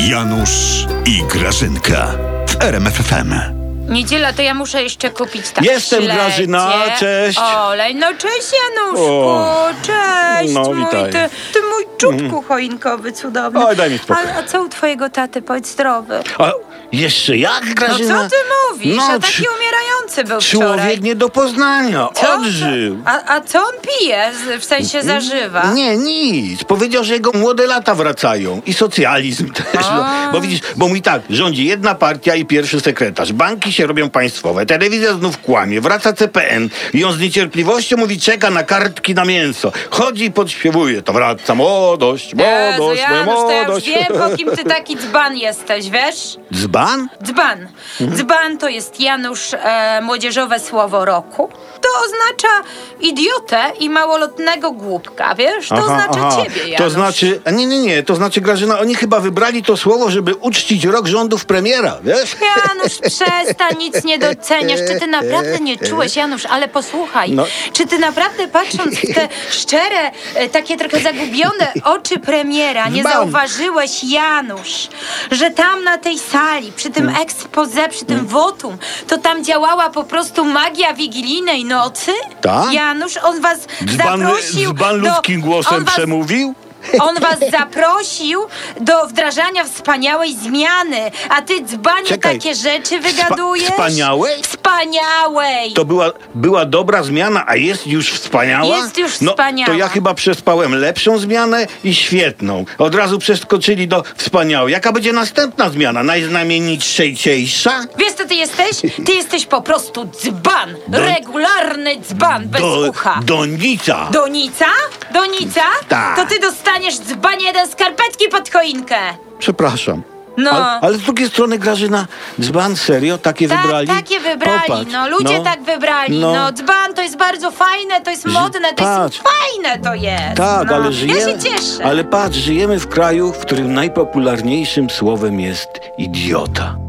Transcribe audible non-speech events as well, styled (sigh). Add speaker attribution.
Speaker 1: Janusz i Grażynka w RMFFM.
Speaker 2: Niedziela, to ja muszę jeszcze kupić tak.
Speaker 3: Jestem
Speaker 2: śledzie,
Speaker 3: Grażyna, cześć.
Speaker 2: Olej, no cześć Januszku,
Speaker 3: O.
Speaker 2: cześć
Speaker 3: No,
Speaker 2: mój,
Speaker 3: witaj.
Speaker 2: ty,
Speaker 3: Mhm.
Speaker 2: ty mój czubku choinkowy cudowny.
Speaker 3: Oj, daj mi spokój.
Speaker 2: A, a co u twojego taty, powiedz zdrowy?
Speaker 3: A jeszcze jak,
Speaker 2: No
Speaker 3: Grażyna?
Speaker 2: co ty mówisz,
Speaker 3: No,
Speaker 2: a taki
Speaker 3: czy-
Speaker 2: umierający był wczoraj.
Speaker 3: Człowiek nie do poznania.
Speaker 2: Co?
Speaker 3: Odżył.
Speaker 2: A, a co on pije, Z- w sensie zażywa?
Speaker 3: Mm, Nie, nic. Powiedział, że jego młode lata wracają. I socjalizm (laughs) też. No. Bo widzisz, bo mój tak, rządzi jedna partia i pierwszy sekretarz. Banki się robią państwowe, telewizja znów kłamie, wraca CPN i on z niecierpliwością mówi, czeka na kartki na mięso. Chodzi i podśpiewuje, to wraca młodość,
Speaker 2: Jezu,
Speaker 3: młodość, moja
Speaker 2: Janusz, to ja już
Speaker 3: młodość.
Speaker 2: wiem, po kim ty taki dzban jesteś, wiesz?
Speaker 3: Dzban?
Speaker 2: Dzban. Dzban to jest Janusz e, młodzieżowe słowo roku. To oznacza idiotę i małolotnego głupka, wiesz? To oznacza ciebie, Janusz.
Speaker 3: To znaczy, a nie, nie, nie, to znaczy Grażyna, oni chyba wybrali to słowo, żeby uczcić rok rządów premiera, wiesz?
Speaker 2: Janusz, przestań, nic nie doceniasz. Czy ty naprawdę nie czułeś, Janusz, ale posłuchaj.
Speaker 3: No.
Speaker 2: Czy ty naprawdę patrząc w te szczere, e, takie trochę zagubione oczy premiera, nie
Speaker 3: Mam.
Speaker 2: zauważyłeś, Janusz, że tam na tej sali, przy tym
Speaker 3: Hmm.
Speaker 2: expose, przy tym wotum, to tam działała po prostu magia wigilijnej nocy?
Speaker 3: Tak?
Speaker 2: Janusz, on was zaprosił
Speaker 3: dzban
Speaker 2: do-
Speaker 3: ludzkim głosem
Speaker 2: on was
Speaker 3: przemówił?
Speaker 2: on was zaprosił do wdrażania wspaniałej zmiany, a ty dzbanie
Speaker 3: Czekaj.
Speaker 2: takie rzeczy wygadujesz?
Speaker 3: wspaniałej?
Speaker 2: Wspaniałej!
Speaker 3: To była, była dobra zmiana, a jest już wspaniała?
Speaker 2: Jest już
Speaker 3: no,
Speaker 2: wspaniała.
Speaker 3: To ja chyba przespałem lepszą zmianę i świetną. Od razu przeskoczyli do wspaniałej. Jaka będzie następna zmiana? Najznamienitszejsza?
Speaker 2: Wiesz co ty jesteś? Ty jesteś po prostu dzban! Regularny dzban bez
Speaker 3: Do,
Speaker 2: ucha!
Speaker 3: donica.
Speaker 2: Donica? Donica?
Speaker 3: Tak.
Speaker 2: To ty dostaniesz dzbanie jeden skarpetki pod choinkę!
Speaker 3: Przepraszam.
Speaker 2: No.
Speaker 3: Ale, ale z drugiej strony, Grażyna, dzban serio? Takie
Speaker 2: Tak,
Speaker 3: wybrali?
Speaker 2: takie wybrali,
Speaker 3: Popatrz,
Speaker 2: no ludzie tak wybrali, no. dzban to jest bardzo fajne, to jest modne, to
Speaker 3: patrz.
Speaker 2: jest fajne to jest.
Speaker 3: Tak,
Speaker 2: no.
Speaker 3: ale żyjemy.
Speaker 2: Ja się cieszę.
Speaker 3: Ale patrz, żyjemy w kraju, w którym najpopularniejszym słowem jest idiota.